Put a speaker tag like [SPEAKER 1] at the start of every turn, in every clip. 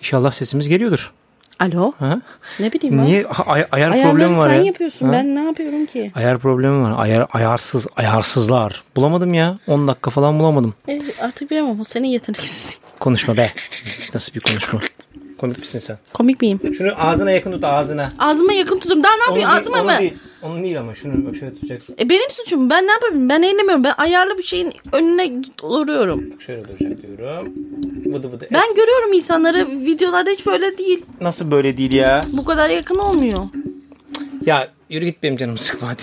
[SPEAKER 1] İnşallah sesimiz geliyordur.
[SPEAKER 2] Alo.
[SPEAKER 1] Ha?
[SPEAKER 2] Ne bileyim ben.
[SPEAKER 1] Niye Ha, ay- ayar
[SPEAKER 2] Ayarları
[SPEAKER 1] problemi var
[SPEAKER 2] sen
[SPEAKER 1] ya?
[SPEAKER 2] yapıyorsun.
[SPEAKER 1] Ha?
[SPEAKER 2] Ben ne yapıyorum ki?
[SPEAKER 1] Ayar problemi var. Ayar ayarsız, ayarsızlar. Bulamadım ya. 10 dakika falan bulamadım.
[SPEAKER 2] E, artık bilemem. O senin yeteneksizliğin.
[SPEAKER 1] Konuşma be. Nasıl bir konuşma? Komik misin sen?
[SPEAKER 2] Komik miyim?
[SPEAKER 1] Şunu ağzına yakın tut ağzına.
[SPEAKER 2] Ağzıma yakın tutuyorum. Daha ne yapayım?
[SPEAKER 1] değil-
[SPEAKER 2] Ağzıma mı?
[SPEAKER 1] Değil, onu değil ama şunu bak şöyle tutacaksın.
[SPEAKER 2] E, benim suçum. Ben ne yapayım? Ben eğlemiyorum. Ben ayarlı bir şeyin önüne duruyorum.
[SPEAKER 1] Bak şöyle duracak diyorum. Vıdı vıdı.
[SPEAKER 2] Ben görüyorum insanları. Videolarda hiç böyle değil.
[SPEAKER 1] Nasıl böyle değil ya?
[SPEAKER 2] Bu kadar yakın olmuyor.
[SPEAKER 1] Ya yürü git benim canımı sıkma hadi.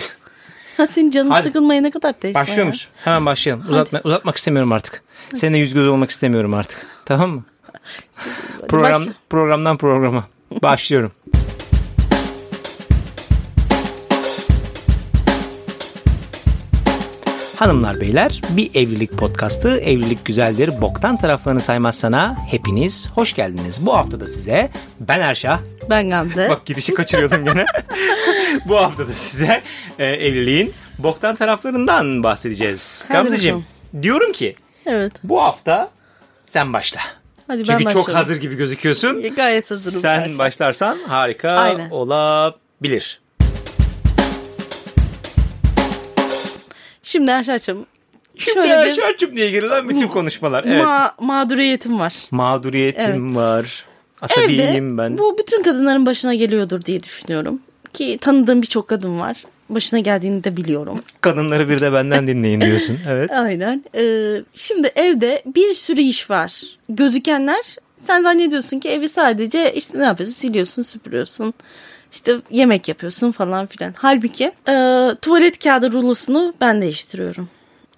[SPEAKER 2] Ha senin canın
[SPEAKER 1] Hadi.
[SPEAKER 2] sıkılmaya ne kadar teşne.
[SPEAKER 1] Başlıyor musun? Hemen başlayalım. Uzatma, uzatmak istemiyorum artık. Seninle yüz göz olmak istemiyorum artık. Tamam mı? Program,
[SPEAKER 2] Başla.
[SPEAKER 1] programdan programa. Başlıyorum. Hanımlar beyler bir evlilik podcastı evlilik güzeldir boktan taraflarını saymazsana hepiniz hoş geldiniz. Bu hafta da size ben Erşah
[SPEAKER 2] Ben Gamze.
[SPEAKER 1] Bak girişi kaçırıyordum gene. Bu hafta da size e, evliliğin boktan taraflarından bahsedeceğiz.
[SPEAKER 2] Hadi
[SPEAKER 1] Gamzeciğim diyorum ki
[SPEAKER 2] Evet.
[SPEAKER 1] bu hafta sen başla.
[SPEAKER 2] Hadi ben
[SPEAKER 1] Çünkü çok
[SPEAKER 2] başlayayım.
[SPEAKER 1] hazır gibi gözüküyorsun.
[SPEAKER 2] E, Gayet hazırım.
[SPEAKER 1] Sen
[SPEAKER 2] Başla.
[SPEAKER 1] başlarsan harika
[SPEAKER 2] Aynen.
[SPEAKER 1] olabilir.
[SPEAKER 2] Şimdi Erşar'cığım. Şöyle
[SPEAKER 1] Şöyle
[SPEAKER 2] bir
[SPEAKER 1] bir... diye girilen bütün konuşmalar. Evet.
[SPEAKER 2] ma- mağduriyetim var.
[SPEAKER 1] Mağduriyetim var. Asabiyim
[SPEAKER 2] Evde
[SPEAKER 1] ben.
[SPEAKER 2] bu bütün kadınların başına geliyordur diye düşünüyorum. Ki tanıdığım birçok kadın var. Başına geldiğini de biliyorum.
[SPEAKER 1] Kadınları bir de benden dinleyin diyorsun. Evet.
[SPEAKER 2] Aynen. Ee, şimdi evde bir sürü iş var. Gözükenler sen zannediyorsun ki evi sadece işte ne yapıyorsun? Siliyorsun, süpürüyorsun. İşte yemek yapıyorsun falan filan. Halbuki e, tuvalet kağıdı rulosunu ben değiştiriyorum.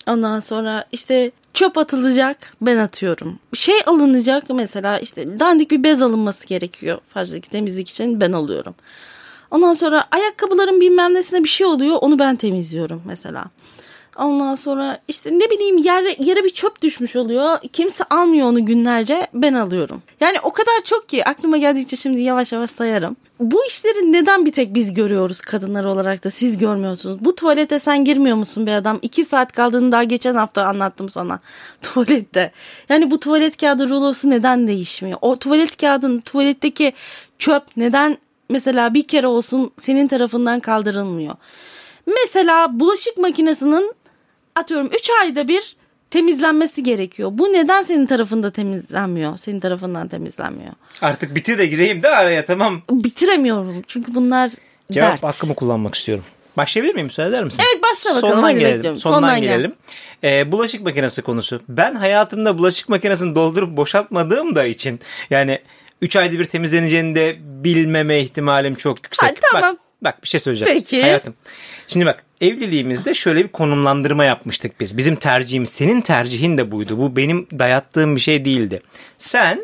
[SPEAKER 2] Ondan sonra işte çöp atılacak ben atıyorum. Şey alınacak mesela işte dandik bir bez alınması gerekiyor. Farzdaki temizlik için ben alıyorum. Ondan sonra ayakkabıların bilmem nesine bir şey oluyor onu ben temizliyorum mesela. Ondan sonra işte ne bileyim yere, yere bir çöp düşmüş oluyor. Kimse almıyor onu günlerce ben alıyorum. Yani o kadar çok ki aklıma geldikçe şimdi yavaş yavaş sayarım. Bu işleri neden bir tek biz görüyoruz kadınlar olarak da siz görmüyorsunuz? Bu tuvalete sen girmiyor musun be adam? İki saat kaldığını daha geçen hafta anlattım sana tuvalette. Yani bu tuvalet kağıdı rulosu neden değişmiyor? O tuvalet kağıdın tuvaletteki çöp neden mesela bir kere olsun senin tarafından kaldırılmıyor? Mesela bulaşık makinesinin atıyorum 3 ayda bir temizlenmesi gerekiyor. Bu neden senin tarafında temizlenmiyor? Senin tarafından temizlenmiyor.
[SPEAKER 1] Artık bitir de gireyim de araya tamam.
[SPEAKER 2] Bitiremiyorum çünkü bunlar
[SPEAKER 1] Cevap
[SPEAKER 2] dert.
[SPEAKER 1] hakkımı kullanmak istiyorum. Başlayabilir miyim? Müsaade eder misin?
[SPEAKER 2] Evet, başla bakalım.
[SPEAKER 1] Sondan
[SPEAKER 2] Hadi
[SPEAKER 1] gelelim.
[SPEAKER 2] bekliyorum.
[SPEAKER 1] Sondan,
[SPEAKER 2] Sondan gel.
[SPEAKER 1] gelelim. Ee, bulaşık makinesi konusu. Ben hayatımda bulaşık makinesini doldurup boşaltmadığım da için yani 3 ayda bir temizleneceğini de bilmeme ihtimalim çok yüksek.
[SPEAKER 2] Ha, tamam.
[SPEAKER 1] Bak, bak bir şey söyleyeceğim.
[SPEAKER 2] Peki.
[SPEAKER 1] Hayatım. Şimdi bak evliliğimizde şöyle bir konumlandırma yapmıştık biz. Bizim tercihimiz senin tercihin de buydu. Bu benim dayattığım bir şey değildi. Sen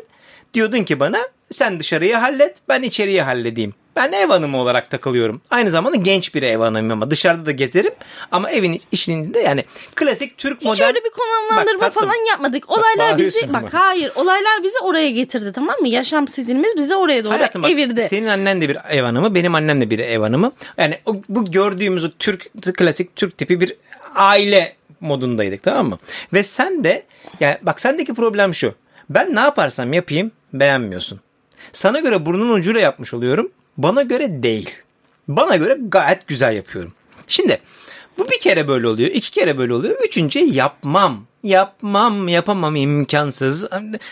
[SPEAKER 1] diyordun ki bana sen dışarıyı hallet ben içeriye halledeyim. Ben ev hanımı olarak takılıyorum. Aynı zamanda genç bir ev hanımıyım ama dışarıda da gezerim. Ama evin içinde yani klasik Türk
[SPEAKER 2] Hiç
[SPEAKER 1] modern...
[SPEAKER 2] öyle bir konumlandırma
[SPEAKER 1] Bak, tatlım.
[SPEAKER 2] falan yapmadık. Olaylar bizi
[SPEAKER 1] bağırıyorsun
[SPEAKER 2] bak
[SPEAKER 1] bak.
[SPEAKER 2] hayır olaylar bizi oraya getirdi tamam mı? Yaşam stilimiz bizi oraya doğru
[SPEAKER 1] Hayatım bak,
[SPEAKER 2] evirdi.
[SPEAKER 1] Senin annen de bir ev hanımı, benim annem de bir ev hanımı. Yani o, bu gördüğümüz o Türk klasik Türk tipi bir aile modundaydık tamam mı? Ve sen de yani bak sendeki problem şu. Ben ne yaparsam yapayım beğenmiyorsun. Sana göre burnun ucuyla yapmış oluyorum. Bana göre değil. Bana göre gayet güzel yapıyorum. Şimdi bu bir kere böyle oluyor, iki kere böyle oluyor. Üçüncü yapmam. Yapmam, yapamam imkansız.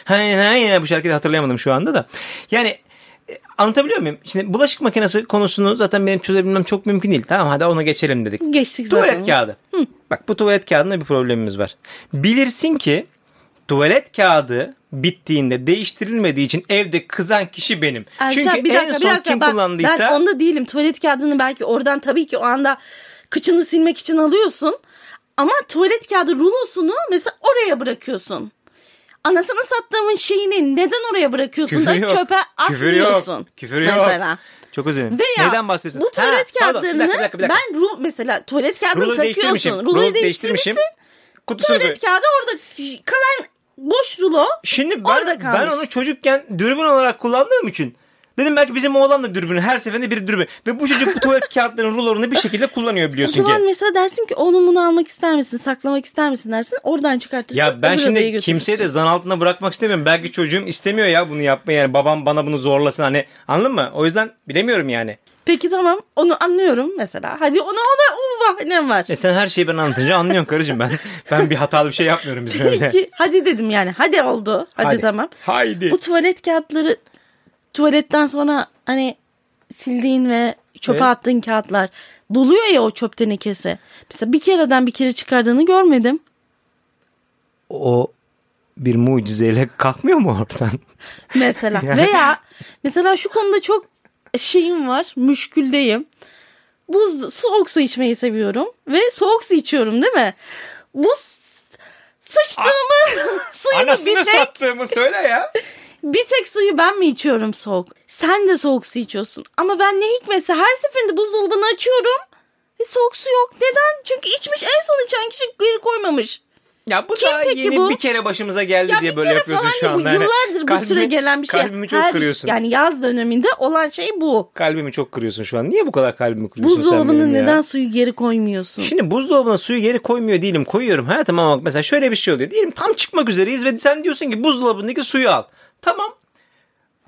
[SPEAKER 1] Hayır, hayır bu şarkıyı hatırlayamadım şu anda da. Yani E, Anlatabiliyor muyum? Şimdi bulaşık makinesi konusunu zaten benim çözebilmem çok mümkün değil. Tamam hadi ona geçelim dedik.
[SPEAKER 2] Geçtik
[SPEAKER 1] tuvalet
[SPEAKER 2] zaten.
[SPEAKER 1] kağıdı. Bak bu tuvalet kağıdında bir problemimiz var. Bilirsin ki tuvalet kağıdı bittiğinde değiştirilmediği için evde kızan kişi benim.
[SPEAKER 2] Erşen,
[SPEAKER 1] Çünkü
[SPEAKER 2] bir dakika,
[SPEAKER 1] en
[SPEAKER 2] bir
[SPEAKER 1] son
[SPEAKER 2] dakika.
[SPEAKER 1] kim
[SPEAKER 2] Bak,
[SPEAKER 1] kullandıysa
[SPEAKER 2] Ben onda değilim. Tuvalet kağıdını belki oradan tabii ki o anda kıçını silmek için alıyorsun. Ama tuvalet kağıdı rulosunu mesela oraya bırakıyorsun. Anasını sattığımın şeyini neden oraya bırakıyorsun da
[SPEAKER 1] yok,
[SPEAKER 2] çöpe
[SPEAKER 1] Küfür yok.
[SPEAKER 2] atmıyorsun.
[SPEAKER 1] Küfür yok.
[SPEAKER 2] Mesela.
[SPEAKER 1] Çok özür dilerim.
[SPEAKER 2] Veya
[SPEAKER 1] Neden bahsediyorsun?
[SPEAKER 2] bu tuvalet
[SPEAKER 1] Ha, pardon, bir
[SPEAKER 2] kağıtlarını
[SPEAKER 1] dakika, bir dakika, bir dakika.
[SPEAKER 2] ben rul mesela tuvalet kağıdını
[SPEAKER 1] Ruloyu değiştirmişim.
[SPEAKER 2] takıyorsun. Ruloyu
[SPEAKER 1] Ruloyu
[SPEAKER 2] değiştirmişsin.
[SPEAKER 1] Kutusunu koy-
[SPEAKER 2] Tuvalet kağıdı orada kalan boş rulo
[SPEAKER 1] Şimdi
[SPEAKER 2] orada
[SPEAKER 1] ben,
[SPEAKER 2] kalmış.
[SPEAKER 1] ben onu çocukken dürbün olarak kullandığım için Dedim belki bizim oğlan da dürbünü her seferinde bir dürbün. Ve bu çocuk bu tuvalet kağıtlarının rulolarını bir şekilde kullanıyor
[SPEAKER 2] O
[SPEAKER 1] biliyorsun ki.
[SPEAKER 2] zaman mesela dersin ki oğlum bunu almak ister misin? Saklamak ister misin dersin. Oradan çıkartırsın.
[SPEAKER 1] Ya ben
[SPEAKER 2] öbür odaya
[SPEAKER 1] şimdi
[SPEAKER 2] götürürsün.
[SPEAKER 1] kimseyi de zan altında bırakmak istemiyorum. Belki çocuğum istemiyor ya bunu yapmayı. Yani babam bana bunu zorlasın hani anladın mı? O yüzden bilemiyorum yani.
[SPEAKER 2] Peki tamam onu anlıyorum mesela. Hadi ona ona o bahanem oh, var.
[SPEAKER 1] E sen her şeyi ben anlatınca anlıyorsun karıcığım ben. Ben bir hatalı bir şey yapmıyorum bizim evde.
[SPEAKER 2] Peki hadi dedim yani. Hadi oldu. Hadi,
[SPEAKER 1] Hadi.
[SPEAKER 2] tamam.
[SPEAKER 1] Haydi.
[SPEAKER 2] Bu tuvalet kağıtları tuvaletten sonra hani sildiğin ve çöpe
[SPEAKER 1] Evet.
[SPEAKER 2] attığın kağıtlar doluyor ya o çöp tenekesi. Mesela bir kereden bir kere çıkardığını görmedim.
[SPEAKER 1] O bir mucizeyle kalkmıyor mu oradan?
[SPEAKER 2] Mesela
[SPEAKER 1] Yani-
[SPEAKER 2] veya mesela şu konuda çok şeyim var. Müşküldeyim. Buz soğuk su içmeyi seviyorum ve soğuk su içiyorum değil mi? Buz sıçtığımı suyunu bir
[SPEAKER 1] Anasını
[SPEAKER 2] tek
[SPEAKER 1] sattığımı söyle ya.
[SPEAKER 2] Bir tek suyu ben mi içiyorum soğuk? Sen de soğuk su içiyorsun. Ama ben ne hikmetse her seferinde buzdolabını açıyorum. Ve soğuk su yok. Neden? Çünkü içmiş en son içen kişi geri koymamış.
[SPEAKER 1] Ya bu
[SPEAKER 2] Kim
[SPEAKER 1] da
[SPEAKER 2] peki
[SPEAKER 1] yeni
[SPEAKER 2] bu?
[SPEAKER 1] bir kere başımıza geldi
[SPEAKER 2] Ya
[SPEAKER 1] diye
[SPEAKER 2] bir
[SPEAKER 1] böyle
[SPEAKER 2] kere falan
[SPEAKER 1] yapıyorsun şu
[SPEAKER 2] da bu
[SPEAKER 1] anda. Hani
[SPEAKER 2] yıllardır bu
[SPEAKER 1] kalbimi-
[SPEAKER 2] süre gelen bir şey.
[SPEAKER 1] Kalbimi çok
[SPEAKER 2] Her-
[SPEAKER 1] kırıyorsun.
[SPEAKER 2] Yani yaz döneminde olan şey bu.
[SPEAKER 1] Kalbimi çok kırıyorsun şu an. Niye bu kadar kalbimi kırıyorsun sen
[SPEAKER 2] Buzdolabının
[SPEAKER 1] benim ya?
[SPEAKER 2] neden suyu geri koymuyorsun?
[SPEAKER 1] Şimdi buzdolabına suyu geri koymuyor değilim koyuyorum hayatım ama bak mesela şöyle bir şey oluyor. Diyelim tam çıkmak üzereyiz ve sen diyorsun ki buzdolabındaki suyu al. Tamam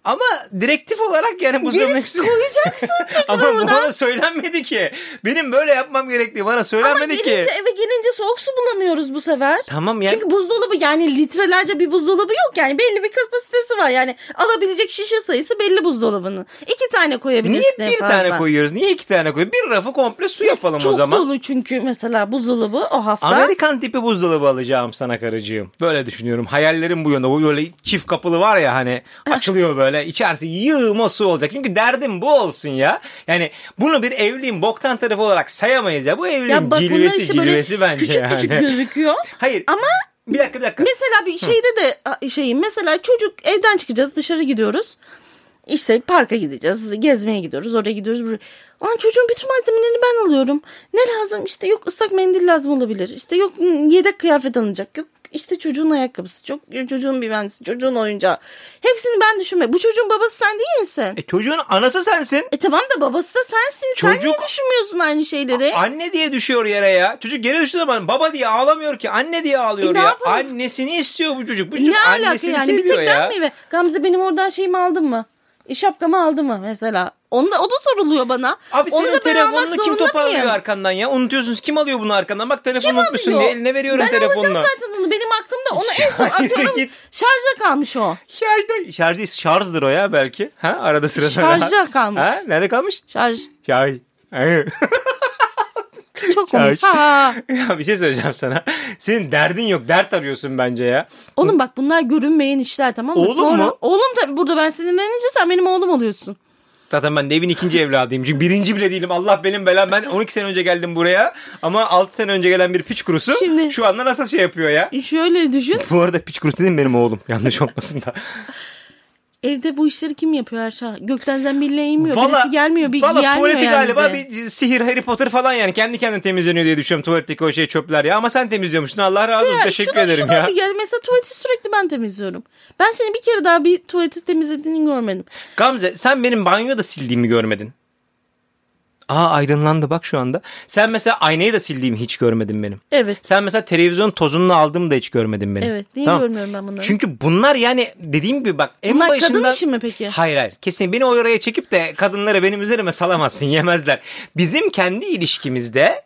[SPEAKER 1] ama direktif olarak yani buzdolabındaki
[SPEAKER 2] Geri
[SPEAKER 1] suyu...
[SPEAKER 2] koyacaksın tekrar
[SPEAKER 1] Ama bu
[SPEAKER 2] oradan.
[SPEAKER 1] bana söylenmedi ki. Benim böyle yapmam gerektiği bana
[SPEAKER 2] Ama
[SPEAKER 1] söylenmedi ki.
[SPEAKER 2] gelince eve gelince soğuk su bulamıyoruz bu sefer.
[SPEAKER 1] Tamam yani.
[SPEAKER 2] Çünkü buzdolabı yani litrelerce bir buzdolabı yok yani belli bir kapasitesi var yani alabilecek şişe sayısı belli buzdolabının. İki tane koyabilirsin
[SPEAKER 1] Niye
[SPEAKER 2] en
[SPEAKER 1] bir
[SPEAKER 2] fazla.
[SPEAKER 1] tane koyuyoruz? Niye iki tane koyuyoruz? Bir rafı komple su yapalım
[SPEAKER 2] Çok
[SPEAKER 1] o zaman.
[SPEAKER 2] dolu çünkü mesela buzdolabı o hafta.
[SPEAKER 1] Amerikan tipi buzdolabı alacağım sana karıcığım. Böyle düşünüyorum. Hayallerim bu yönde. Bu böyle çift kapılı var ya hani
[SPEAKER 2] Ah.
[SPEAKER 1] açılıyor böyle. İçerisi yığma su olacak. Çünkü derdim bu olsun ya. Yani bunu bir evliliğin boktan tarafı olarak sayamayız ya. Bu evliliğin
[SPEAKER 2] ya bak bunlar
[SPEAKER 1] cilvesi
[SPEAKER 2] işte böyle
[SPEAKER 1] cilvesi bence
[SPEAKER 2] küçük
[SPEAKER 1] yani.
[SPEAKER 2] küçük gözüküyor.
[SPEAKER 1] Hayır.
[SPEAKER 2] Ama
[SPEAKER 1] Bir dakika bir dakika.
[SPEAKER 2] mesela bir şeyde de a, şeyim mesela çocuk evden çıkacağız dışarı gidiyoruz. İşte parka gideceğiz, gezmeye gidiyoruz, oraya gidiyoruz. buraya- Lan çocuğun bütün malzemelerini ben alıyorum. Ne lazım? İşte yok ıslak mendil lazım olabilir. İşte yok m, yedek kıyafet alınacak. Yok işte çocuğun ayakkabısı, çok ıı, çocuğun bilmemesi, çocuğun oyuncağı. Hepsini ben düşünme. Bu çocuğun babası sen değil misin?
[SPEAKER 1] E, çocuğun anası sensin.
[SPEAKER 2] E tamam da babası da sensin. Sen niye
[SPEAKER 1] Çocuk-
[SPEAKER 2] düşünmüyorsun aynı şeyleri?
[SPEAKER 1] Anne diye düşüyor yere ya. Çocuk geri düştüğü zaman baba diye ağlamıyor ki. Anne diye ağlıyor
[SPEAKER 2] E, ne
[SPEAKER 1] ya.
[SPEAKER 2] yapalım?
[SPEAKER 1] Annesini istiyor bu çocuk. Bu çocuk
[SPEAKER 2] ne alaka
[SPEAKER 1] annesini
[SPEAKER 2] yani?
[SPEAKER 1] seviyor
[SPEAKER 2] Bir tek
[SPEAKER 1] ya.
[SPEAKER 2] ben mi? ve- Gamze benim oradan şeyimi aldın mı? E, Şapkamı aldı mı mesela? Onu da, o da soruluyor bana.
[SPEAKER 1] Abi
[SPEAKER 2] Onu
[SPEAKER 1] senin
[SPEAKER 2] da ben almak
[SPEAKER 1] telefonunu kim
[SPEAKER 2] zorunda
[SPEAKER 1] toparlıyor
[SPEAKER 2] mıyım?
[SPEAKER 1] arkandan ya? Unutuyorsunuz. Kim alıyor bunu arkandan? Bak
[SPEAKER 2] Kim
[SPEAKER 1] telefonu unutmuşsun
[SPEAKER 2] alıyor?
[SPEAKER 1] diye eline veriyorum
[SPEAKER 2] ben
[SPEAKER 1] telefonunu.
[SPEAKER 2] alacağım zaten onu. Benim aklımda onu en son
[SPEAKER 1] Hayır,
[SPEAKER 2] atıyorum.
[SPEAKER 1] git.
[SPEAKER 2] Şarja kalmış o.
[SPEAKER 1] Şarjda, şarjı şarjdır o ya belki. Ha arada sırada.
[SPEAKER 2] Şarjda kalmış.
[SPEAKER 1] Ha nerede kalmış?
[SPEAKER 2] Şarj.
[SPEAKER 1] Şarj. Hayır.
[SPEAKER 2] Çok komik.
[SPEAKER 1] Şarj.
[SPEAKER 2] Ha.
[SPEAKER 1] ya bir şey söyleyeceğim sana. Senin derdin yok. Dert arıyorsun bence ya.
[SPEAKER 2] Oğlum bak bunlar görünmeyen işler tamam mı?
[SPEAKER 1] Oğlum
[SPEAKER 2] Sonra-
[SPEAKER 1] mu?
[SPEAKER 2] Oğlum tabii burada ben sinirlenince sen benim oğlum oluyorsun.
[SPEAKER 1] Zaten ben de evin ikinci evladıyım. Çünkü birinci bile değilim. Allah benim belam. Ben 12 sene önce geldim buraya. Ama 6 sene önce gelen bir piç kurusu
[SPEAKER 2] Şimdi-
[SPEAKER 1] şu anda nasıl şey yapıyor ya?
[SPEAKER 2] E, Şöyle düşün.
[SPEAKER 1] Bu arada piç kurusu dedim benim oğlum. Yanlış olmasın da.
[SPEAKER 2] Evde bu işleri kim yapıyor Erşah? Gökten zembille inmiyor.
[SPEAKER 1] Valla-
[SPEAKER 2] Birisi gelmiyor. Bir
[SPEAKER 1] valla
[SPEAKER 2] gelmiyor
[SPEAKER 1] tuvaleti
[SPEAKER 2] yani
[SPEAKER 1] galiba
[SPEAKER 2] bize.
[SPEAKER 1] bir sihir Harry Potter falan yani. Kendi kendine temizleniyor diye düşünüyorum tuvaletteki o şey çöpler ya. Ama sen temizliyormuşsun Allah razı olsun.
[SPEAKER 2] Ya
[SPEAKER 1] Teşekkür
[SPEAKER 2] şuna-
[SPEAKER 1] ederim
[SPEAKER 2] şuna
[SPEAKER 1] ya.
[SPEAKER 2] bir gel. Mesela tuvaleti sürekli ben temizliyorum. Ben seni bir kere daha bir tuvaleti temizlediğini görmedim.
[SPEAKER 1] Gamze sen benim banyoyu da sildiğimi görmedin. Aa aydınlandı bak şu anda. Sen mesela aynayı da sildiğimi hiç görmedin benim.
[SPEAKER 2] Evet.
[SPEAKER 1] Sen mesela televizyon tozunu aldığımı da hiç görmedin benim.
[SPEAKER 2] Evet, niye görmüyorum ben bunları?
[SPEAKER 1] Çünkü bunlar yani dediğim gibi bak en
[SPEAKER 2] Bunlar kadın
[SPEAKER 1] başından...
[SPEAKER 2] işi mi peki?
[SPEAKER 1] Hayır hayır. Kesin beni o oraya çekip de kadınları benim üzerime salamazsın yemezler. Bizim kendi ilişkimizde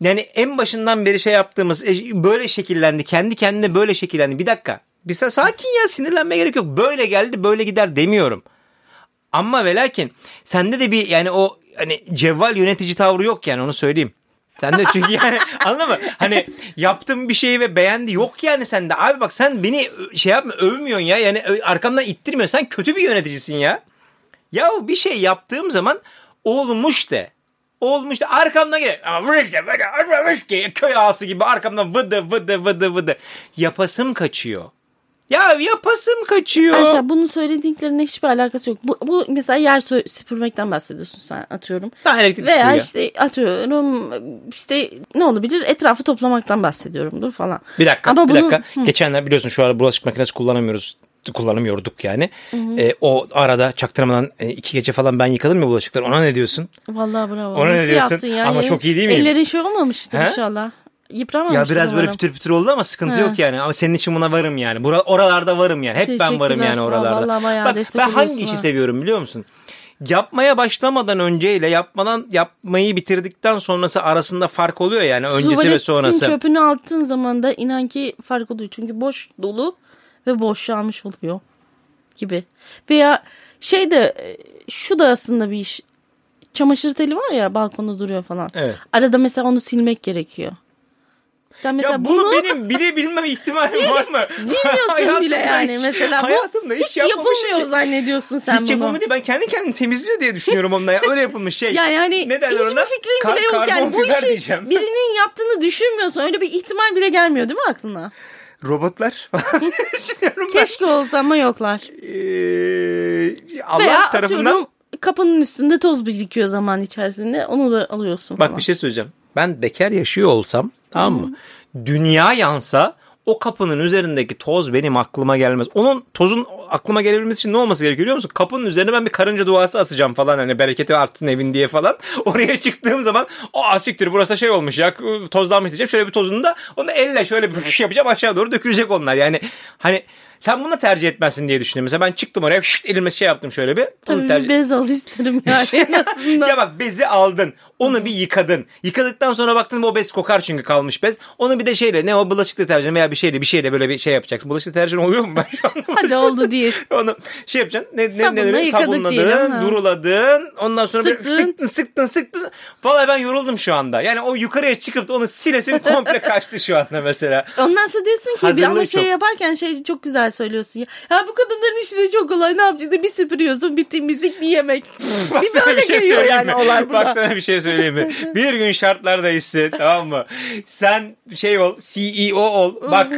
[SPEAKER 1] yani en başından beri şey yaptığımız e, böyle şekillendi. Kendi kendine böyle şekillendi. Bir dakika. Bir sa- sakin ya sinirlenmeye gerek yok. Böyle geldi böyle gider demiyorum. Ama ve lakin sende de bir yani o hani cevval yönetici tavrı yok yani onu söyleyeyim. Sen de çünkü yani anladın mı? Hani yaptığım bir şeyi ve beğendi yok yani sende. Abi bak sen beni ö- şey yapma övmüyorsun ya. Yani ö- arkamdan ittirmiyorsun. Sen kötü bir yöneticisin ya. Ya bir şey yaptığım zaman olmuş de. Olmuş da arkamdan gel. Ama bu işte böyle olmamış ki. Köy ağası gibi arkamdan vıdı vıdı vıdı vıdı. Yapasım kaçıyor. Ya yapasım kaçıyor.
[SPEAKER 2] Arkadaşlar bunun söyledikleriyle hiçbir alakası yok. Bu, bu mesela yer sö- süpürmekten bahsediyorsun sen atıyorum.
[SPEAKER 1] Daha elektrik
[SPEAKER 2] Veya
[SPEAKER 1] süpürüyor.
[SPEAKER 2] işte atıyorum işte ne olabilir etrafı toplamaktan bahsediyorumdur falan.
[SPEAKER 1] Bir dakika,
[SPEAKER 2] Ama
[SPEAKER 1] bir
[SPEAKER 2] bunun-
[SPEAKER 1] dakika. Geçenler biliyorsun şu ara bulaşık makinesi kullanamıyoruz. kullanamıyorduk yani. E, o arada çaktırmadan e, iki gece falan ben yıkadım ya bulaşıkları. Ona ne diyorsun?
[SPEAKER 2] Vallahi bravo.
[SPEAKER 1] Ona ne
[SPEAKER 2] Nasıl
[SPEAKER 1] diyorsun?
[SPEAKER 2] yaptın yani?
[SPEAKER 1] Ama çok iyi değil miyim?
[SPEAKER 2] Ellerin şey olmamıştır
[SPEAKER 1] He?
[SPEAKER 2] inşallah. Yıpramamıştır
[SPEAKER 1] Ya biraz böyle
[SPEAKER 2] umarım.
[SPEAKER 1] pütür pütür oldu ama sıkıntı
[SPEAKER 2] He.
[SPEAKER 1] yok yani. Ama senin için buna varım yani. Bura, oralarda varım yani. Hep ben varım
[SPEAKER 2] Teşekkürler,
[SPEAKER 1] yani
[SPEAKER 2] sağ ol.
[SPEAKER 1] oralarda.
[SPEAKER 2] Vallahi bayağı
[SPEAKER 1] Bak
[SPEAKER 2] destek
[SPEAKER 1] ben hangi
[SPEAKER 2] oluyorsun
[SPEAKER 1] işi
[SPEAKER 2] ha.
[SPEAKER 1] seviyorum biliyor musun? Yapmaya başlamadan önceyle yapmadan yapmayı bitirdikten sonrası arasında fark oluyor yani öncesi ve
[SPEAKER 2] Tuvaletin
[SPEAKER 1] sonrası.
[SPEAKER 2] çöpünü attığın zaman da inan ki fark oluyor. Çünkü boş dolu ve boşalmış oluyor gibi. Veya şey de e, şu da aslında bir iş. Çamaşır teli var ya balkonda duruyor falan.
[SPEAKER 1] Evet.
[SPEAKER 2] Arada mesela onu silmek gerekiyor. Sen mesela
[SPEAKER 1] ya bunu,
[SPEAKER 2] bunu,
[SPEAKER 1] benim bile bilmem ihtimalim var mı?
[SPEAKER 2] bilmiyorsun
[SPEAKER 1] Hayatımda
[SPEAKER 2] bile yani
[SPEAKER 1] hiç-
[SPEAKER 2] mesela. Bu
[SPEAKER 1] hayatımda hiç,
[SPEAKER 2] hiç
[SPEAKER 1] yapmamışım
[SPEAKER 2] yapılmıyor
[SPEAKER 1] ki.
[SPEAKER 2] zannediyorsun sen
[SPEAKER 1] Hiç
[SPEAKER 2] bunu.
[SPEAKER 1] yapılmıyor değil. Ben kendi kendimi temizliyor diye düşünüyorum onunla. Ya. Öyle yapılmış şey.
[SPEAKER 2] Yani hani
[SPEAKER 1] ne derler
[SPEAKER 2] hiçbir
[SPEAKER 1] ona?
[SPEAKER 2] fikrin
[SPEAKER 1] Kar-
[SPEAKER 2] bile yok yani bu
[SPEAKER 1] karbonfiber
[SPEAKER 2] işi
[SPEAKER 1] diyeceğim.
[SPEAKER 2] birinin yaptığını düşünmüyorsun. Öyle bir ihtimal bile gelmiyor değil mi aklına?
[SPEAKER 1] Robotlar falan düşünüyorum ben.
[SPEAKER 2] Keşke olsa ama yoklar.
[SPEAKER 1] Ee, Allah
[SPEAKER 2] Veya
[SPEAKER 1] tarafından
[SPEAKER 2] atıyorum kapının üstünde toz birikiyor zaman içerisinde. Onu da alıyorsun
[SPEAKER 1] Bak
[SPEAKER 2] falan.
[SPEAKER 1] bir şey söyleyeceğim. Ben bekar yaşıyor olsam tamam mı? Dünya yansa o kapının üzerindeki toz benim aklıma gelmez. Onun tozun aklıma gelebilmesi için ne olması gerekiyor biliyor musun? Kapının üzerine ben bir karınca duası asacağım falan hani bereketi artsın evin diye falan. Oraya çıktığım zaman o asiktir burası şey olmuş ya tozlanmış diyeceğim. Şöyle bir tozunu da onu elle şöyle bir şey yapacağım aşağı doğru dökülecek onlar. Yani hani sen bunu da tercih etmezsin diye düşündüm. Mesela ben çıktım oraya elime şey yaptım şöyle bir. Onu
[SPEAKER 2] Tabii bir
[SPEAKER 1] tercih-
[SPEAKER 2] bez al isterim yani en azından.
[SPEAKER 1] ya bak bezi aldın. Onu bir yıkadın. Yıkadıktan sonra baktın o bez kokar çünkü kalmış bez. Onu bir de şeyle ne o bulaşık deterjanı veya bir şeyle bir şeyle böyle bir şey yapacaksın. Bulaşık deterjanı oluyor mu ben şu an?
[SPEAKER 2] Hadi oldu değil.
[SPEAKER 1] Onu şey yapacaksın. Ne, ne,
[SPEAKER 2] Sabunla
[SPEAKER 1] ne demek?
[SPEAKER 2] yıkadık diyelim,
[SPEAKER 1] Sabunladın,
[SPEAKER 2] ha.
[SPEAKER 1] duruladın. Ondan sonra böyle
[SPEAKER 2] Sıktın.
[SPEAKER 1] sıktın, sıktın, sıktın. Vallahi ben yoruldum şu anda. Yani o yukarıya çıkıp da onu silesim komple kaçtı şu anda mesela.
[SPEAKER 2] Ondan sonra diyorsun ki bir
[SPEAKER 1] Hazırlığı
[SPEAKER 2] ama şey
[SPEAKER 1] çok.
[SPEAKER 2] yaparken şey çok güzel söylüyorsun ya. Ya bu kadınların işi de çok kolay ne yapacaksın? Bir süpürüyorsun bir temizlik bir yemek. bir
[SPEAKER 1] Baksana
[SPEAKER 2] böyle geliyor
[SPEAKER 1] şey söyleyeyim
[SPEAKER 2] yani
[SPEAKER 1] mi?
[SPEAKER 2] olay burada.
[SPEAKER 1] Bak sana bir şey söyleyeyim mi? bir gün şartlar değişsin tamam mı? Sen şey ol CEO ol. Bak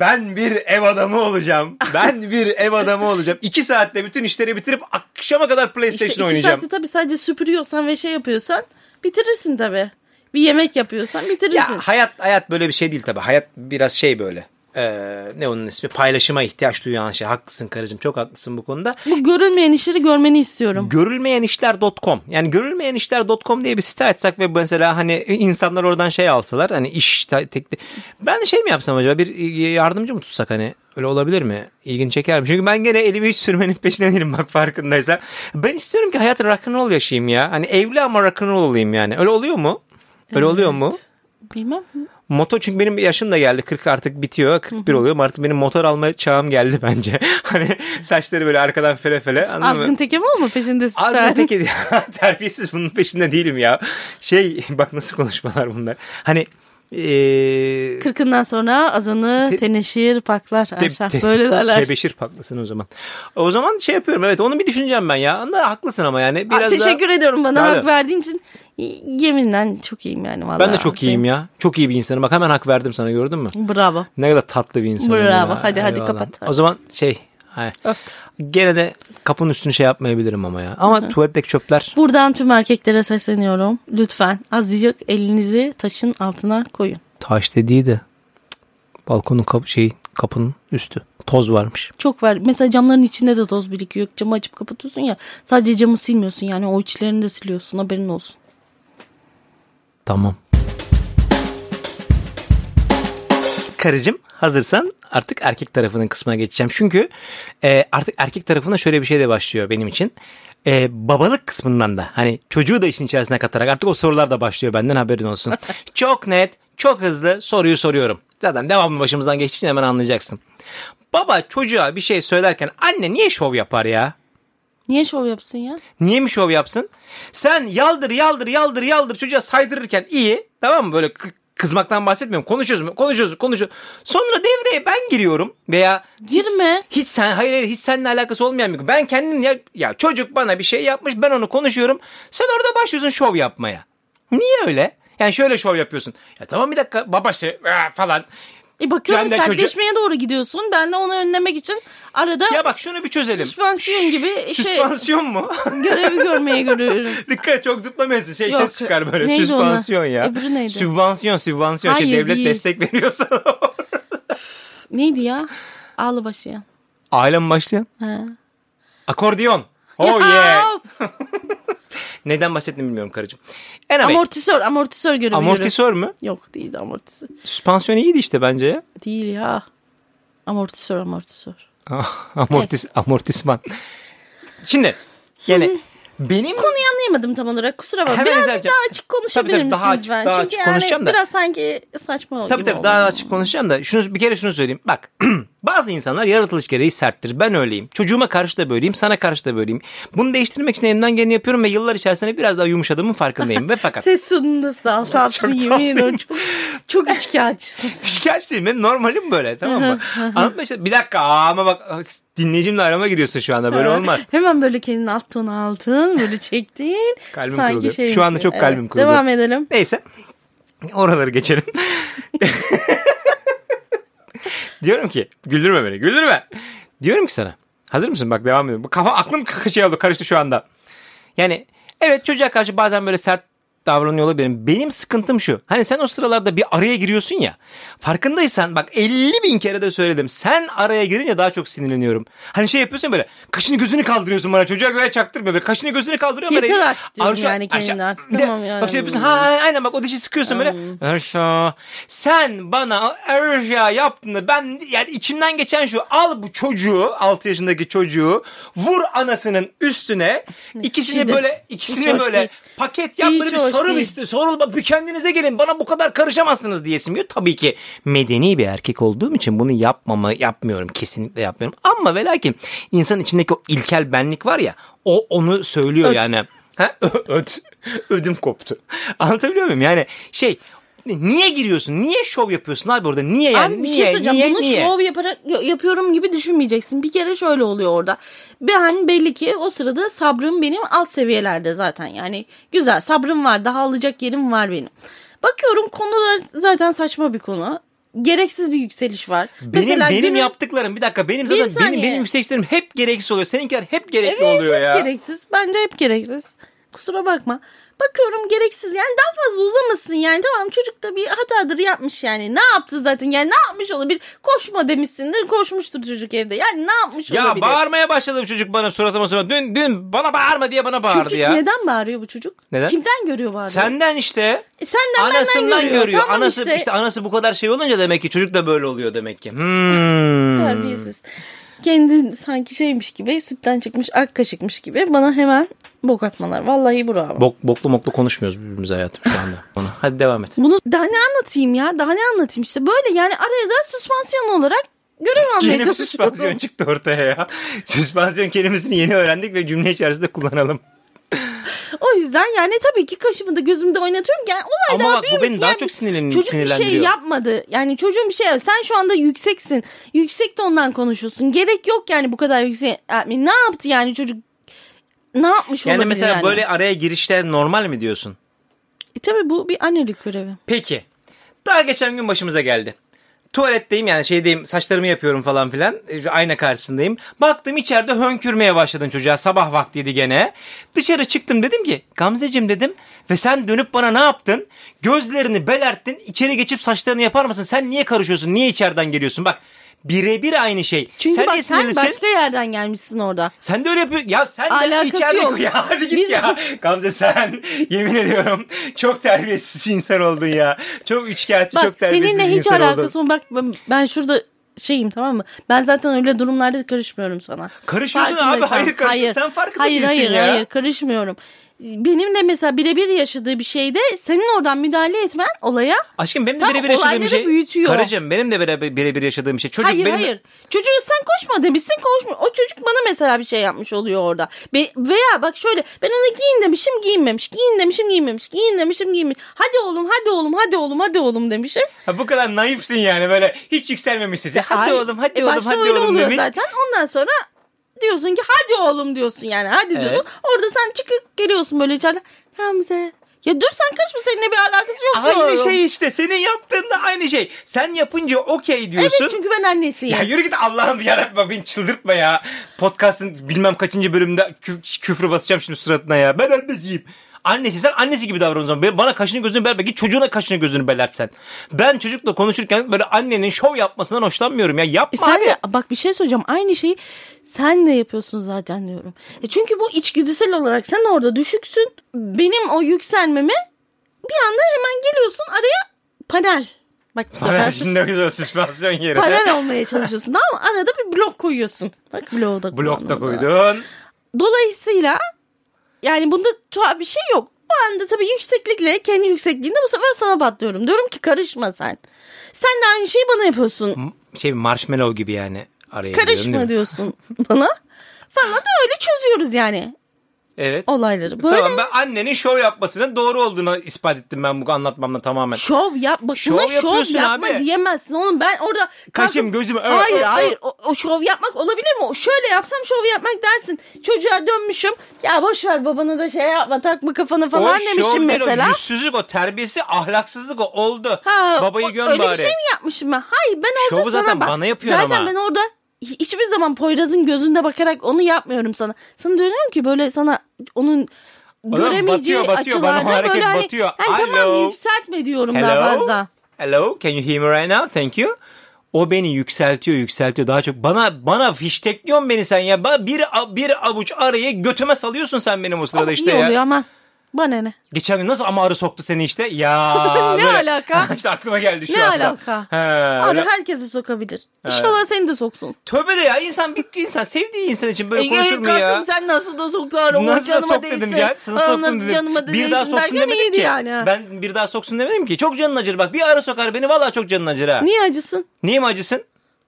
[SPEAKER 1] ben bir ev adamı olacağım. Ben bir ev adamı olacağım. İki saatte bütün işleri bitirip akşama kadar PlayStation
[SPEAKER 2] İşte iki
[SPEAKER 1] oynayacağım.
[SPEAKER 2] saatte tabii sadece süpürüyorsan ve şey yapıyorsan bitirirsin tabii. Bir yemek yapıyorsan bitirirsin.
[SPEAKER 1] Ya hayat hayat böyle bir şey değil tabii. Hayat biraz şey böyle. Ee, ne onun ismi? Paylaşıma ihtiyaç duyan şey. Haklısın karıcığım. Çok haklısın bu konuda.
[SPEAKER 2] Bu görünmeyen işleri görmeni istiyorum.
[SPEAKER 1] Görülmeyenişler.com yani görülmeyenişler.com diye bir site açsak ve mesela hani insanlar oradan şey alsalar hani iş te- tekli. Ben de şey mi yapsam acaba bir yardımcı mı tutsak hani öyle olabilir mi? İlgini çeker mi? Çünkü ben gene elimi hiç sürmenin peşine değilim bak farkındaysa. Ben istiyorum ki hayat rock'n'roll yaşayayım ya. Hani evli ama rock'n'roll olayım yani. Öyle oluyor mu? Öyle oluyor mu?
[SPEAKER 2] Bilmem.
[SPEAKER 1] Motor çünkü benim yaşım da geldi. 40 artık bitiyor. 41 oluyorum. Artık benim motor alma çağım geldi bence. hani saçları böyle arkadan fele fele. anladın mı?
[SPEAKER 2] Azgın teke mi olma peşindesin sen?
[SPEAKER 1] Az öteki terbiyesiz bunun peşinde değilim ya. Şey bak nasıl konuşmalar bunlar. Hani eee
[SPEAKER 2] Kırkından sonra azanı
[SPEAKER 1] Te-
[SPEAKER 2] teneşir paklar
[SPEAKER 1] te-
[SPEAKER 2] aşağı.
[SPEAKER 1] te-
[SPEAKER 2] Böyle derler.
[SPEAKER 1] Tebeşir patlasın o zaman. O zaman şey yapıyorum evet onu bir düşüneceğim ben ya. Anda haklısın ama yani biraz
[SPEAKER 2] Aa, teşekkür
[SPEAKER 1] daha...
[SPEAKER 2] ediyorum bana
[SPEAKER 1] Tabii.
[SPEAKER 2] hak verdiğin için. Yeminden çok iyiyim yani vallahi.
[SPEAKER 1] Ben de çok iyiyim ya. Çok iyi bir insanım. Bak hemen hak verdim sana gördün mü?
[SPEAKER 2] Bravo.
[SPEAKER 1] Ne kadar tatlı bir insanım
[SPEAKER 2] Bravo.
[SPEAKER 1] ya.
[SPEAKER 2] Hadi, hadi
[SPEAKER 1] Eyvallah.
[SPEAKER 2] kapat.
[SPEAKER 1] O zaman şey... Hay.
[SPEAKER 2] Öptüm.
[SPEAKER 1] Gene de kapının üstünü şey yapmayabilirim ama ya. Ama tuvaletteki çöpler
[SPEAKER 2] Buradan tüm erkeklere sesleniyorum. Lütfen azıcık elinizi taşın altına koyun.
[SPEAKER 1] taş dediği de cık, balkonun kap şey kapının üstü toz varmış.
[SPEAKER 2] Çok var. Mesela camların içinde de toz birikiyor. Camı açıp kapatıyorsun ya. Sadece camı silmiyorsun yani o içlerini de siliyorsun. Haberin olsun.
[SPEAKER 1] Tamam. Karıcığım hazırsan artık erkek tarafının kısmına geçeceğim. Çünkü e, artık erkek tarafına şöyle bir şey de başlıyor benim için. E, babalık kısmından da hani çocuğu da işin içerisine katarak artık o sorular da başlıyor benden haberin olsun. çok net, çok hızlı soruyu soruyorum. Zaten devamlı başımızdan geçtiği için hemen anlayacaksın. Baba çocuğa bir şey söylerken anne niye şov yapar ya?
[SPEAKER 2] Niye şov yapsın ya?
[SPEAKER 1] Niye mi şov yapsın? Sen yaldır yaldır yaldır yaldır çocuğa saydırırken iyi. Tamam mı? Böyle k- kızmaktan bahsetmiyorum. Konuşuyoruz mu? Konuşuyoruz, konuşuyoruz. Sonra devreye ben giriyorum veya hiç-
[SPEAKER 2] Girme.
[SPEAKER 1] Hiç, sen hayır hayır hiç seninle alakası olmayan bir. Ben kendim ya, ya çocuk bana bir şey yapmış. Ben onu konuşuyorum. Sen orada başlıyorsun şov yapmaya. Niye öyle? Yani şöyle şov yapıyorsun. Ya tamam bir dakika babası aa, falan.
[SPEAKER 2] E bakıyorum
[SPEAKER 1] Kendi çocuğu-
[SPEAKER 2] sertleşmeye doğru gidiyorsun. Ben de onu önlemek için arada
[SPEAKER 1] Ya bak şunu bir çözelim.
[SPEAKER 2] Süspansiyon gibi şey-
[SPEAKER 1] Süspansiyon mu?
[SPEAKER 2] görevi görmeye görüyorum.
[SPEAKER 1] Dikkat et, çok zıplamayasın. Şey
[SPEAKER 2] Yok,
[SPEAKER 1] ses çıkar böyle.
[SPEAKER 2] neydi
[SPEAKER 1] Süspansiyon
[SPEAKER 2] ona?
[SPEAKER 1] ya.
[SPEAKER 2] Öbürü neydi?
[SPEAKER 1] Sübvansiyon, sübvansiyon. şey,
[SPEAKER 2] Hayır,
[SPEAKER 1] devlet
[SPEAKER 2] değil.
[SPEAKER 1] destek veriyorsa.
[SPEAKER 2] Neydi ya? Ağlı başı ya.
[SPEAKER 1] Ailem başlayan. Akordiyon. Oh
[SPEAKER 2] Ya!
[SPEAKER 1] yeah. Neden bahsettiğimi bilmiyorum karıcığım. Anyway,
[SPEAKER 2] Amortisör, amortisör göremiyorum.
[SPEAKER 1] amortisör mü?
[SPEAKER 2] Yok değildi amortisör.
[SPEAKER 1] Süspansiyon iyiydi işte bence ya.
[SPEAKER 2] Değil ya. Amortisör, amortisör.
[SPEAKER 1] Amortis, Amortisman. Şimdi yani benim
[SPEAKER 2] Konuyu anlayamadım tam olarak. Kusura bakma.
[SPEAKER 1] Hemen
[SPEAKER 2] Birazcık
[SPEAKER 1] izleyeceğim.
[SPEAKER 2] daha açık konuşabilir
[SPEAKER 1] Tabii tabii, daha
[SPEAKER 2] misiniz
[SPEAKER 1] açık,
[SPEAKER 2] ben?
[SPEAKER 1] daha
[SPEAKER 2] Çünkü
[SPEAKER 1] açık
[SPEAKER 2] yani
[SPEAKER 1] konuşacağım da.
[SPEAKER 2] biraz sanki saçma
[SPEAKER 1] Tabii
[SPEAKER 2] gibi
[SPEAKER 1] tabii
[SPEAKER 2] oldu.
[SPEAKER 1] daha açık konuşacağım da şunu bir kere şunu söyleyeyim. Bak bazı insanlar yaratılış gereği serttir. Ben öyleyim. Çocuğuma karşı da böyleyim. Sana karşı da böyleyim. Bunu değiştirmek için elimden geleni yapıyorum ve yıllar içerisinde biraz daha yumuşadığımın farkındayım. ve fakat
[SPEAKER 2] Ses tonunu nasıl daha tatlısın yemin ediyorum. Çok, çok içkiyatçısın.
[SPEAKER 1] şikayetçi değilim. Benim normalim böyle tamam mı? Anlatma işte bir dakika aa, ama bak dinleyicimle arama giriyorsun şu anda böyle olmaz.
[SPEAKER 2] Hemen böyle kendini alt tonu aldın. Böyle çektin.
[SPEAKER 1] Kalbim
[SPEAKER 2] Sanki
[SPEAKER 1] kırılıyor. Şu
[SPEAKER 2] şeymiş
[SPEAKER 1] anda çok
[SPEAKER 2] gibi.
[SPEAKER 1] kalbim kırılıyor.
[SPEAKER 2] Devam edelim.
[SPEAKER 1] Neyse. Oraları geçelim. Diyorum ki güldürme beni güldürme. Diyorum ki sana. Hazır mısın? Bak devam ediyorum. Bu Kafa aklım k- şey oldu karıştı şu anda. Yani evet çocuğa karşı bazen böyle sert davranıyor olabilirim. Benim sıkıntım şu. Hani sen o sıralarda bir araya giriyorsun ya. Farkındaysan bak 50 bin kere de söyledim. Sen araya girince daha çok sinirleniyorum. Hani şey yapıyorsun böyle. Kaşını gözünü kaldırıyorsun bana. Çocuğa göre çaktırma. Böyle kaşını gözünü kaldırıyor. böyle.
[SPEAKER 2] Yeter artık diyorum
[SPEAKER 1] Arşo-
[SPEAKER 2] yani kendine
[SPEAKER 1] Arşo-
[SPEAKER 2] artık.
[SPEAKER 1] Bir de
[SPEAKER 2] Tamam yani.
[SPEAKER 1] Bak şey yapıyorsun. Ha Ay- Aynen bak o dişi sıkıyorsun böyle. Erşa. Sen bana Erşa yaptın da ben yani içimden geçen şu al bu çocuğu 6 yaşındaki çocuğu vur anasını üstüne ikisini
[SPEAKER 2] şiddet.
[SPEAKER 1] böyle ikisini
[SPEAKER 2] Hiç hoş
[SPEAKER 1] böyle
[SPEAKER 2] değil.
[SPEAKER 1] paket yap böyle
[SPEAKER 2] Hiç
[SPEAKER 1] bir
[SPEAKER 2] hoş
[SPEAKER 1] sarıl
[SPEAKER 2] değil.
[SPEAKER 1] işte sarıl bak bir kendinize gelin bana bu kadar karışamazsınız diyesim yok. Tabii ki medeni bir erkek olduğum için bunu yapmama yapmıyorum kesinlikle yapmıyorum ama ve lakin insanın içindeki o ilkel benlik var ya o onu söylüyor yani. Ha? Ö- Öt. Ödüm koptu. Anlatabiliyor muyum? Yani şey niye giriyorsun? Niye şov yapıyorsun abi orada? Niye yani?
[SPEAKER 2] Abi bir şey
[SPEAKER 1] niye?
[SPEAKER 2] söyleyeceğim.
[SPEAKER 1] niye?
[SPEAKER 2] Bunu
[SPEAKER 1] niye?
[SPEAKER 2] şov yaparak yapıyorum gibi düşünmeyeceksin. Bir kere şöyle oluyor orada. Ben hani belli ki o sırada sabrım benim alt seviyelerde zaten. Yani güzel sabrım var. Daha alacak yerim var benim. Bakıyorum konu da zaten saçma bir konu. Gereksiz bir yükseliş var.
[SPEAKER 1] Benim benim
[SPEAKER 2] günün-
[SPEAKER 1] yaptıklarım bir dakika benim
[SPEAKER 2] Bir
[SPEAKER 1] zaten benim
[SPEAKER 2] saniye.
[SPEAKER 1] benim yükselişlerim hep gereksiz oluyor. Seninkiler hep gerekli
[SPEAKER 2] Evet,
[SPEAKER 1] oluyor
[SPEAKER 2] hep
[SPEAKER 1] ya.
[SPEAKER 2] gereksiz. Bence hep gereksiz. Kusura bakma. Bakıyorum gereksiz yani daha fazla uzamasın yani tamam çocuk da bir hatadır yapmış yani ne yaptı zaten yani ne yapmış olabilir koşma demişsindir koşmuştur çocuk evde yani ne yapmış
[SPEAKER 1] Ya
[SPEAKER 2] olabilir.
[SPEAKER 1] bağırmaya başladı bu çocuk bana suratıma suratıma. Dün dün bana bağırma diye bana bağırdı
[SPEAKER 2] Çünkü
[SPEAKER 1] ya.
[SPEAKER 2] neden bağırıyor bu çocuk?
[SPEAKER 1] Neden?
[SPEAKER 2] Kimden görüyor bağırıyor?
[SPEAKER 1] Senden işte.
[SPEAKER 2] E, senden
[SPEAKER 1] Anasından
[SPEAKER 2] benden görüyor.
[SPEAKER 1] görüyor.
[SPEAKER 2] Tamam
[SPEAKER 1] anası
[SPEAKER 2] işte.
[SPEAKER 1] işte. anası bu kadar şey olunca demek ki çocuk da böyle oluyor demek ki. Hmm.
[SPEAKER 2] Terbiyesiz. Kendi sanki şeymiş gibi sütten çıkmış ak kaşıkmış gibi bana hemen bok atmalar. Vallahi bravo.
[SPEAKER 1] Bok, boklu moklu konuşmuyoruz birbirimize hayatım şu anda. Onu. Hadi devam et.
[SPEAKER 2] Bunu daha ne anlatayım ya? Daha ne anlatayım işte. Böyle yani araya da süspansiyon olarak görev almaya
[SPEAKER 1] Yeni bir
[SPEAKER 2] çalışıyorum.
[SPEAKER 1] süspansiyon çıktı ortaya ya. Süspansiyon kelimesini yeni öğrendik ve cümle içerisinde kullanalım.
[SPEAKER 2] O yüzden yani tabii ki kaşımı da gözümde oynatıyorum. ki Yani olay
[SPEAKER 1] Ama
[SPEAKER 2] daha
[SPEAKER 1] bak bu
[SPEAKER 2] büyümesin.
[SPEAKER 1] beni daha
[SPEAKER 2] Yani
[SPEAKER 1] çok sinirlen-
[SPEAKER 2] Çocuk bir şey
[SPEAKER 1] sinirlendiriyor.
[SPEAKER 2] yapmadı. Yani çocuğun bir şey yap- Sen şu anda yükseksin. Yüksek tondan konuşuyorsun. Gerek yok yani bu kadar yüksek. Yani ne yaptı yani çocuk? Ne yapmış
[SPEAKER 1] Yani
[SPEAKER 2] olabilir
[SPEAKER 1] mesela
[SPEAKER 2] yani?
[SPEAKER 1] böyle araya girişler normal mi diyorsun?
[SPEAKER 2] E tabii bu bir annelik görevi.
[SPEAKER 1] Peki. Daha geçen gün başımıza geldi. Tuvaletteyim yani şeydeyim saçlarımı yapıyorum falan filan. E, Ayna karşısındayım. Baktım içeride hönkürmeye başladın çocuğa. Sabah vaktiydi gene. Dışarı çıktım dedim ki Gamzeciğim dedim. Ve sen dönüp bana ne yaptın? Gözlerini belerttin. içeri geçip saçlarını yapar mısın? Sen niye karışıyorsun? Niye içeriden geliyorsun? Bak birebir aynı şey.
[SPEAKER 2] Çünkü
[SPEAKER 1] sen
[SPEAKER 2] bak
[SPEAKER 1] niye
[SPEAKER 2] sen
[SPEAKER 1] sinirlisin?
[SPEAKER 2] başka yerden gelmişsin orada.
[SPEAKER 1] Sen de öyle yapıyorsun. Ya sen de
[SPEAKER 2] Alakası
[SPEAKER 1] içeride
[SPEAKER 2] yok.
[SPEAKER 1] ya hadi git
[SPEAKER 2] Biz-
[SPEAKER 1] ya. Gamze sen yemin ediyorum çok terbiyesiz insan oldun ya. Çok üçkağıtçı
[SPEAKER 2] Bak
[SPEAKER 1] çok terbiyesiz
[SPEAKER 2] seninle
[SPEAKER 1] bir
[SPEAKER 2] hiç
[SPEAKER 1] insan oldun.
[SPEAKER 2] alakası yok. Bak ben- ben şurada şeyim tamam mı? Ben zaten öyle durumlarda karışmıyorum sana.
[SPEAKER 1] Karışıyorsun
[SPEAKER 2] Farkındaysan.
[SPEAKER 1] abi, hayır karışıyorsun. Sen farkında
[SPEAKER 2] hayır,
[SPEAKER 1] değilsin
[SPEAKER 2] hayır,
[SPEAKER 1] ya.
[SPEAKER 2] Hayır karışmıyorum. Benimle mesela birebir yaşadığı bir şeyde senin oradan müdahale etmen olaya
[SPEAKER 1] Aşkım benim de
[SPEAKER 2] Tamam,
[SPEAKER 1] birebir yaşadığım bir
[SPEAKER 2] olayları
[SPEAKER 1] şey.
[SPEAKER 2] büyütüyor.
[SPEAKER 1] Karıcığım benim de birebir, birebir yaşadığım bir şey. Çocuk
[SPEAKER 2] hayır
[SPEAKER 1] benim...
[SPEAKER 2] hayır. Çocuğu sen koşma demişsin koşma. O çocuk bana mesela bir şey yapmış oluyor orada. Ve- veya bak şöyle ben ona giyin demişim giyinmemiş. Giyin demişim giyinmemiş. Giyin demişim giyinmemiş. Hadi oğlum hadi oğlum hadi oğlum hadi oğlum demişim.
[SPEAKER 1] Ha, bu kadar naifsin yani böyle hiç yükselmemişsin. Sen, hadi
[SPEAKER 2] Hayır.
[SPEAKER 1] oğlum hadi
[SPEAKER 2] E,
[SPEAKER 1] oğlum
[SPEAKER 2] başta
[SPEAKER 1] hadi
[SPEAKER 2] öyle
[SPEAKER 1] oğlum
[SPEAKER 2] oluyor
[SPEAKER 1] demiş.
[SPEAKER 2] zaten. Ondan sonra diyorsun ki hadi oğlum diyorsun yani. Hadi diyorsun. Orada sen çıkıp geliyorsun böyle içeride. Hamze. Ya dur sen kaçma seninle bir alakası yok
[SPEAKER 1] Aynı
[SPEAKER 2] diyorum.
[SPEAKER 1] şey işte senin yaptığın da aynı şey. Sen yapınca okey diyorsun.
[SPEAKER 2] Evet çünkü ben annesiyim.
[SPEAKER 1] Ya yürü git Allah'ım yarabbim beni çıldırtma ya. Podcast'ın bilmem kaçıncı bölümde kü- küfrü basacağım şimdi suratına ya. Ben anneciyim. Annesi sen annesi gibi davran o zaman. Ben- Bana kaşını gözünü belirtme. Git çocuğuna kaşını gözünü belertsen. Ben çocukla konuşurken böyle annenin şov yapmasından hoşlanmıyorum ya. Yapma
[SPEAKER 2] E sen
[SPEAKER 1] abi.
[SPEAKER 2] de bak bir şey söyleyeceğim. Aynı şeyi sen de yapıyorsun zaten diyorum. E çünkü bu içgüdüsel olarak sen orada düşüksün. Benim o yükselmeme bir anda hemen geliyorsun araya panel. Bak bu
[SPEAKER 1] Panel
[SPEAKER 2] sefer
[SPEAKER 1] içinde güzel süspansiyon yeri.
[SPEAKER 2] panel olmaya çalışıyorsun tamam mı? Arada bir blok koyuyorsun. Bak bloğu da kullandım
[SPEAKER 1] Blokta
[SPEAKER 2] da.
[SPEAKER 1] koydun.
[SPEAKER 2] Dolayısıyla yani bunda tuhaf bir şey yok. O anda tabii yükseklikle kendi yüksekliğinde bu sefer sana batlıyorum. Diyorum ki karışma sen. Sen de aynı şeyi bana yapıyorsun.
[SPEAKER 1] Şey marshmallow gibi yani. Araya giriyorum, değil mi?
[SPEAKER 2] karışma diyorsun bana. Falan da öyle çözüyoruz yani
[SPEAKER 1] Evet.
[SPEAKER 2] olayları. Böyle
[SPEAKER 1] Tamam ben annenin şov yapmasının doğru olduğunu ispat ettim ben bu anlatmamla tamamen.
[SPEAKER 2] şov yap. Bak
[SPEAKER 1] Şov
[SPEAKER 2] şov buna şov
[SPEAKER 1] yapıyorsun
[SPEAKER 2] yapma
[SPEAKER 1] abi.
[SPEAKER 2] diyemezsin oğlum. Ben orada kalkıp-
[SPEAKER 1] Kaşım, gözüm, ö,
[SPEAKER 2] hayır
[SPEAKER 1] ö, ö.
[SPEAKER 2] hayır. O, o şov yapmak olabilir mi? O Şöyle yapsam şov yapmak dersin. Çocuğa dönmüşüm. Ya boş ver babana da şey yapma takma kafana falan
[SPEAKER 1] şov
[SPEAKER 2] demişim
[SPEAKER 1] değil,
[SPEAKER 2] mesela.
[SPEAKER 1] O yüzsüzlük o terbiyesi ahlaksızlık o oldu.
[SPEAKER 2] Ha,
[SPEAKER 1] Babayı
[SPEAKER 2] o-
[SPEAKER 1] gön
[SPEAKER 2] öyle
[SPEAKER 1] bari.
[SPEAKER 2] bir şey mi yapmışım ben? Hayır ben orada
[SPEAKER 1] Şovu
[SPEAKER 2] sana
[SPEAKER 1] zaten
[SPEAKER 2] bak.
[SPEAKER 1] bana yapıyorsun
[SPEAKER 2] zaten
[SPEAKER 1] ama.
[SPEAKER 2] ben orada hi- hiçbir zaman Poyraz'ın gözünde bakarak onu yapmıyorum sana. Sana diyorum ki böyle sana onun
[SPEAKER 1] Adam
[SPEAKER 2] göremeyeceği
[SPEAKER 1] batıyor, batıyor. Bana o
[SPEAKER 2] açılarda
[SPEAKER 1] hareket
[SPEAKER 2] böyle hani,
[SPEAKER 1] batıyor.
[SPEAKER 2] hani
[SPEAKER 1] Alo.
[SPEAKER 2] tamam yükseltme diyorum daha
[SPEAKER 1] Hello?
[SPEAKER 2] fazla.
[SPEAKER 1] Hello, can you hear me right now? Thank you. O beni yükseltiyor, yükseltiyor daha çok. Bana bana fiştekliyorsun beni sen ya. Ba- Bir a- bir avuç arayı götüme salıyorsun sen benim o sırada
[SPEAKER 2] Ama
[SPEAKER 1] işte
[SPEAKER 2] iyi
[SPEAKER 1] ya.
[SPEAKER 2] oluyor ama bana ne?
[SPEAKER 1] Geçen gün nasıl ama arı soktu seni işte? Ya.
[SPEAKER 2] Ne
[SPEAKER 1] böyle.
[SPEAKER 2] alaka?
[SPEAKER 1] işte aklıma geldi şu
[SPEAKER 2] Ne
[SPEAKER 1] anda.
[SPEAKER 2] alaka?
[SPEAKER 1] He,
[SPEAKER 2] Abi
[SPEAKER 1] öyle.
[SPEAKER 2] herkese sokabilir. İnşallah seni de soksun.
[SPEAKER 1] Tövbe de ya insan bir insan sevdiği insan için
[SPEAKER 2] E,
[SPEAKER 1] böyle konuşur mu ya?
[SPEAKER 2] kalkın sen nasıl da soktular. O
[SPEAKER 1] Nasıl da
[SPEAKER 2] canıma
[SPEAKER 1] sok
[SPEAKER 2] değsin.
[SPEAKER 1] dedim ya. Sana
[SPEAKER 2] Aa,
[SPEAKER 1] soktum
[SPEAKER 2] nasıl
[SPEAKER 1] dedim.
[SPEAKER 2] Canıma
[SPEAKER 1] Bir daha
[SPEAKER 2] değsin
[SPEAKER 1] soksun
[SPEAKER 2] derken
[SPEAKER 1] demedim
[SPEAKER 2] iyiydi
[SPEAKER 1] ki.
[SPEAKER 2] Yani. ha.
[SPEAKER 1] Ben bir daha soksun demedim ki. Çok canın acır bak. Bir ara sokar beni vallahi çok canın acır ha.
[SPEAKER 2] Niye acısın?
[SPEAKER 1] Niye mi acısın?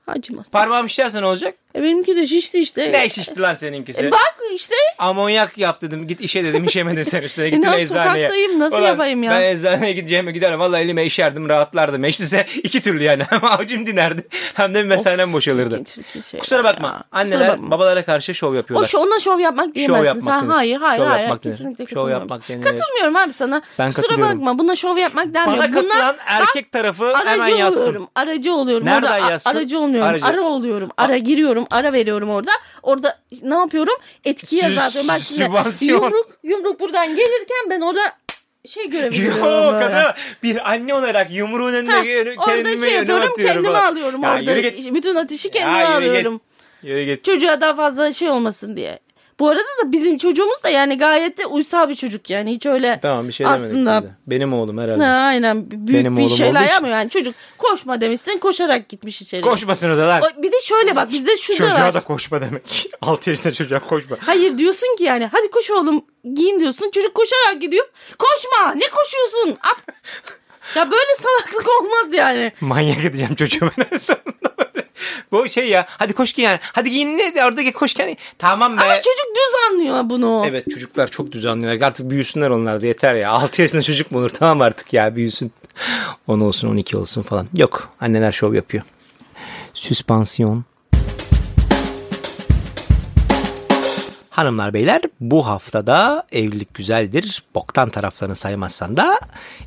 [SPEAKER 2] Acımasın.
[SPEAKER 1] Parmağım şişerse ne olacak?
[SPEAKER 2] E benimki de şişti işte.
[SPEAKER 1] Ne şişti lan seninkisi?
[SPEAKER 2] E bak işte
[SPEAKER 1] Amonyak yap dedim. Git işe dedim. İşemedin sen üstüne. Gittin
[SPEAKER 2] lan
[SPEAKER 1] eczaneye.
[SPEAKER 2] E, sokaktayım, nasıl
[SPEAKER 1] Ulan
[SPEAKER 2] yapayım ya?
[SPEAKER 1] Ben eczaneye gideceğime giderim. Vallahi elime işerdim rahatlardım. Eşlise iki türlü yani. Hem acım dinerdi hem de mesanem boşalırdı.
[SPEAKER 2] Çirkin, çirkin şeyler
[SPEAKER 1] Kusura bakma.
[SPEAKER 2] şey ya.
[SPEAKER 1] Anneler
[SPEAKER 2] Kusura bakma.
[SPEAKER 1] babalara karşı şov yapıyorlar.
[SPEAKER 2] O şov, ona şov yapmak diyemezsin.
[SPEAKER 1] yapmak
[SPEAKER 2] sen
[SPEAKER 1] denir.
[SPEAKER 2] hayır hayır
[SPEAKER 1] Şov
[SPEAKER 2] hayır.
[SPEAKER 1] yapmak denir.
[SPEAKER 2] kesinlikle
[SPEAKER 1] Şov
[SPEAKER 2] katılmıyorum.
[SPEAKER 1] yapmak denir.
[SPEAKER 2] Katılmıyorum abi sana.
[SPEAKER 1] Ben
[SPEAKER 2] Kusura
[SPEAKER 1] katılıyorum.
[SPEAKER 2] bakma buna şov yapmak denmiyor.
[SPEAKER 1] Bana
[SPEAKER 2] Bunlar-
[SPEAKER 1] katılan
[SPEAKER 2] Ben
[SPEAKER 1] erkek tarafı hemen
[SPEAKER 2] aracı
[SPEAKER 1] yazsın.
[SPEAKER 2] oluyorum. Aracı oluyorum.
[SPEAKER 1] Nereden
[SPEAKER 2] orada, a-
[SPEAKER 1] yazsın?
[SPEAKER 2] Aracı olmuyorum.
[SPEAKER 1] Aracı.
[SPEAKER 2] Ara oluyorum. Ara giriyorum. Ara veriyorum orada. Orada ne yapıyorum? Etkiye
[SPEAKER 1] Sü-
[SPEAKER 2] zaten. Bak şimdi
[SPEAKER 1] sübvansiyon.
[SPEAKER 2] yumruk, yumruk buradan gelirken ben orada şey görebiliyorum.
[SPEAKER 1] Yok
[SPEAKER 2] böyle.
[SPEAKER 1] kadın bir anne olarak yumruğun önüne
[SPEAKER 2] Ha,
[SPEAKER 1] kendimi
[SPEAKER 2] orada şey
[SPEAKER 1] önüme
[SPEAKER 2] yapıyorum
[SPEAKER 1] atıyorum
[SPEAKER 2] kendimi
[SPEAKER 1] falan.
[SPEAKER 2] alıyorum
[SPEAKER 1] Ya
[SPEAKER 2] orada.
[SPEAKER 1] Yürü git.
[SPEAKER 2] Bütün ateşi kendime
[SPEAKER 1] Ya yürü git.
[SPEAKER 2] alıyorum.
[SPEAKER 1] Yürü git.
[SPEAKER 2] Çocuğa daha fazla şey olmasın diye. Bu arada da bizim çocuğumuz da yani gayet de uysal bir çocuk yani hiç öyle
[SPEAKER 1] Tamam bir şey demedik
[SPEAKER 2] aslında
[SPEAKER 1] bize. Benim oğlum herhalde.
[SPEAKER 2] ha, aynen büyük
[SPEAKER 1] Benim
[SPEAKER 2] bir
[SPEAKER 1] oğlum olduğu
[SPEAKER 2] şeyler
[SPEAKER 1] için.
[SPEAKER 2] yapmıyor yani çocuk koşma demişsin koşarak gitmiş içeri.
[SPEAKER 1] Koşmasın da lan.
[SPEAKER 2] O- Bir de şöyle bak bizde şu da var.
[SPEAKER 1] Çocuğa da koşma demek. 6 yaşında çocuğa koşma.
[SPEAKER 2] Hayır diyorsun ki yani hadi koş oğlum giyin diyorsun çocuk koşarak gidiyor koşma ne koşuyorsun Ap- ya böyle salaklık olmaz yani.
[SPEAKER 1] Manyak edeceğim çocuğu ben en sonunda böyle. Bu şey ya hadi koş ki yani. Hadi giyin ne oradaki koş ki yani. Tamam be.
[SPEAKER 2] Ama çocuk düz anlıyor bunu.
[SPEAKER 1] Evet çocuklar çok düzenliyorlar. Artık büyüsünler onlar da yeter ya. 6 yaşında çocuk mu olur? Tamam artık ya büyüsün. 10 olsun 12 olsun falan. Yok anneler şov yapıyor. Süspansiyon. Hanımlar beyler bu haftada evlilik güzeldir. Boktan taraflarını saymazsan da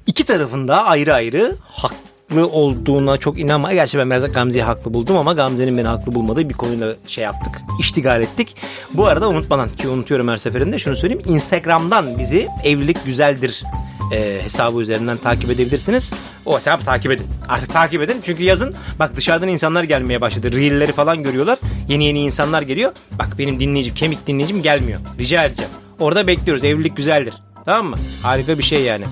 [SPEAKER 1] iki tarafında ayrı ayrı haklı olduğuna çok inanma. Gerçi ben biraz Gamze'yi haklı buldum ama Gamze'nin beni haklı bulmadığı bir konuyla şey yaptık. iştigal ettik. Bu arada unutmadan ki unutuyorum her seferinde şunu söyleyeyim. Instagram'dan bizi evlilik güzeldir e, hesabı üzerinden takip edebilirsiniz. O hesabı takip edin. Artık takip edin. Çünkü yazın bak dışarıdan insanlar gelmeye başladı. Reel'leri falan görüyorlar. Yeni yeni insanlar geliyor. Bak benim dinleyicim, kemik dinleyicim gelmiyor. Rica edeceğim. Orada bekliyoruz. Evlilik güzeldir. Tamam mı? Harika bir şey yani.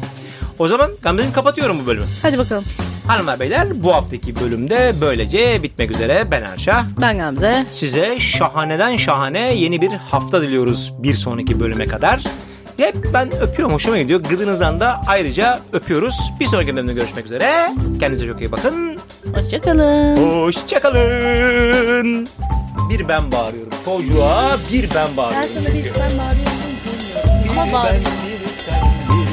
[SPEAKER 1] O zaman Gamze'cim kapatıyorum bu bölümü.
[SPEAKER 2] Hadi bakalım
[SPEAKER 1] Hanımlar beyler bu haftaki bölümde böylece bitmek üzere. Ben Erşah.
[SPEAKER 2] ben Gamze.
[SPEAKER 1] Size şahaneden şahane yeni bir hafta diliyoruz bir sonraki bölüme kadar. Hep ben öpüyorum hoşuma gidiyor. Gıdınızdan da ayrıca öpüyoruz. Bir sonraki bölümde görüşmek üzere. Kendinize çok iyi bakın.
[SPEAKER 2] Hoşçakalın.
[SPEAKER 1] Hoşçakalın. Bir ben bağırıyorum çocuğa bir ben bağırıyorum.
[SPEAKER 2] Ben sana bir sen bağırıyorsun bilmiyorum. Ama bağır.
[SPEAKER 1] Ben, bir sen, bir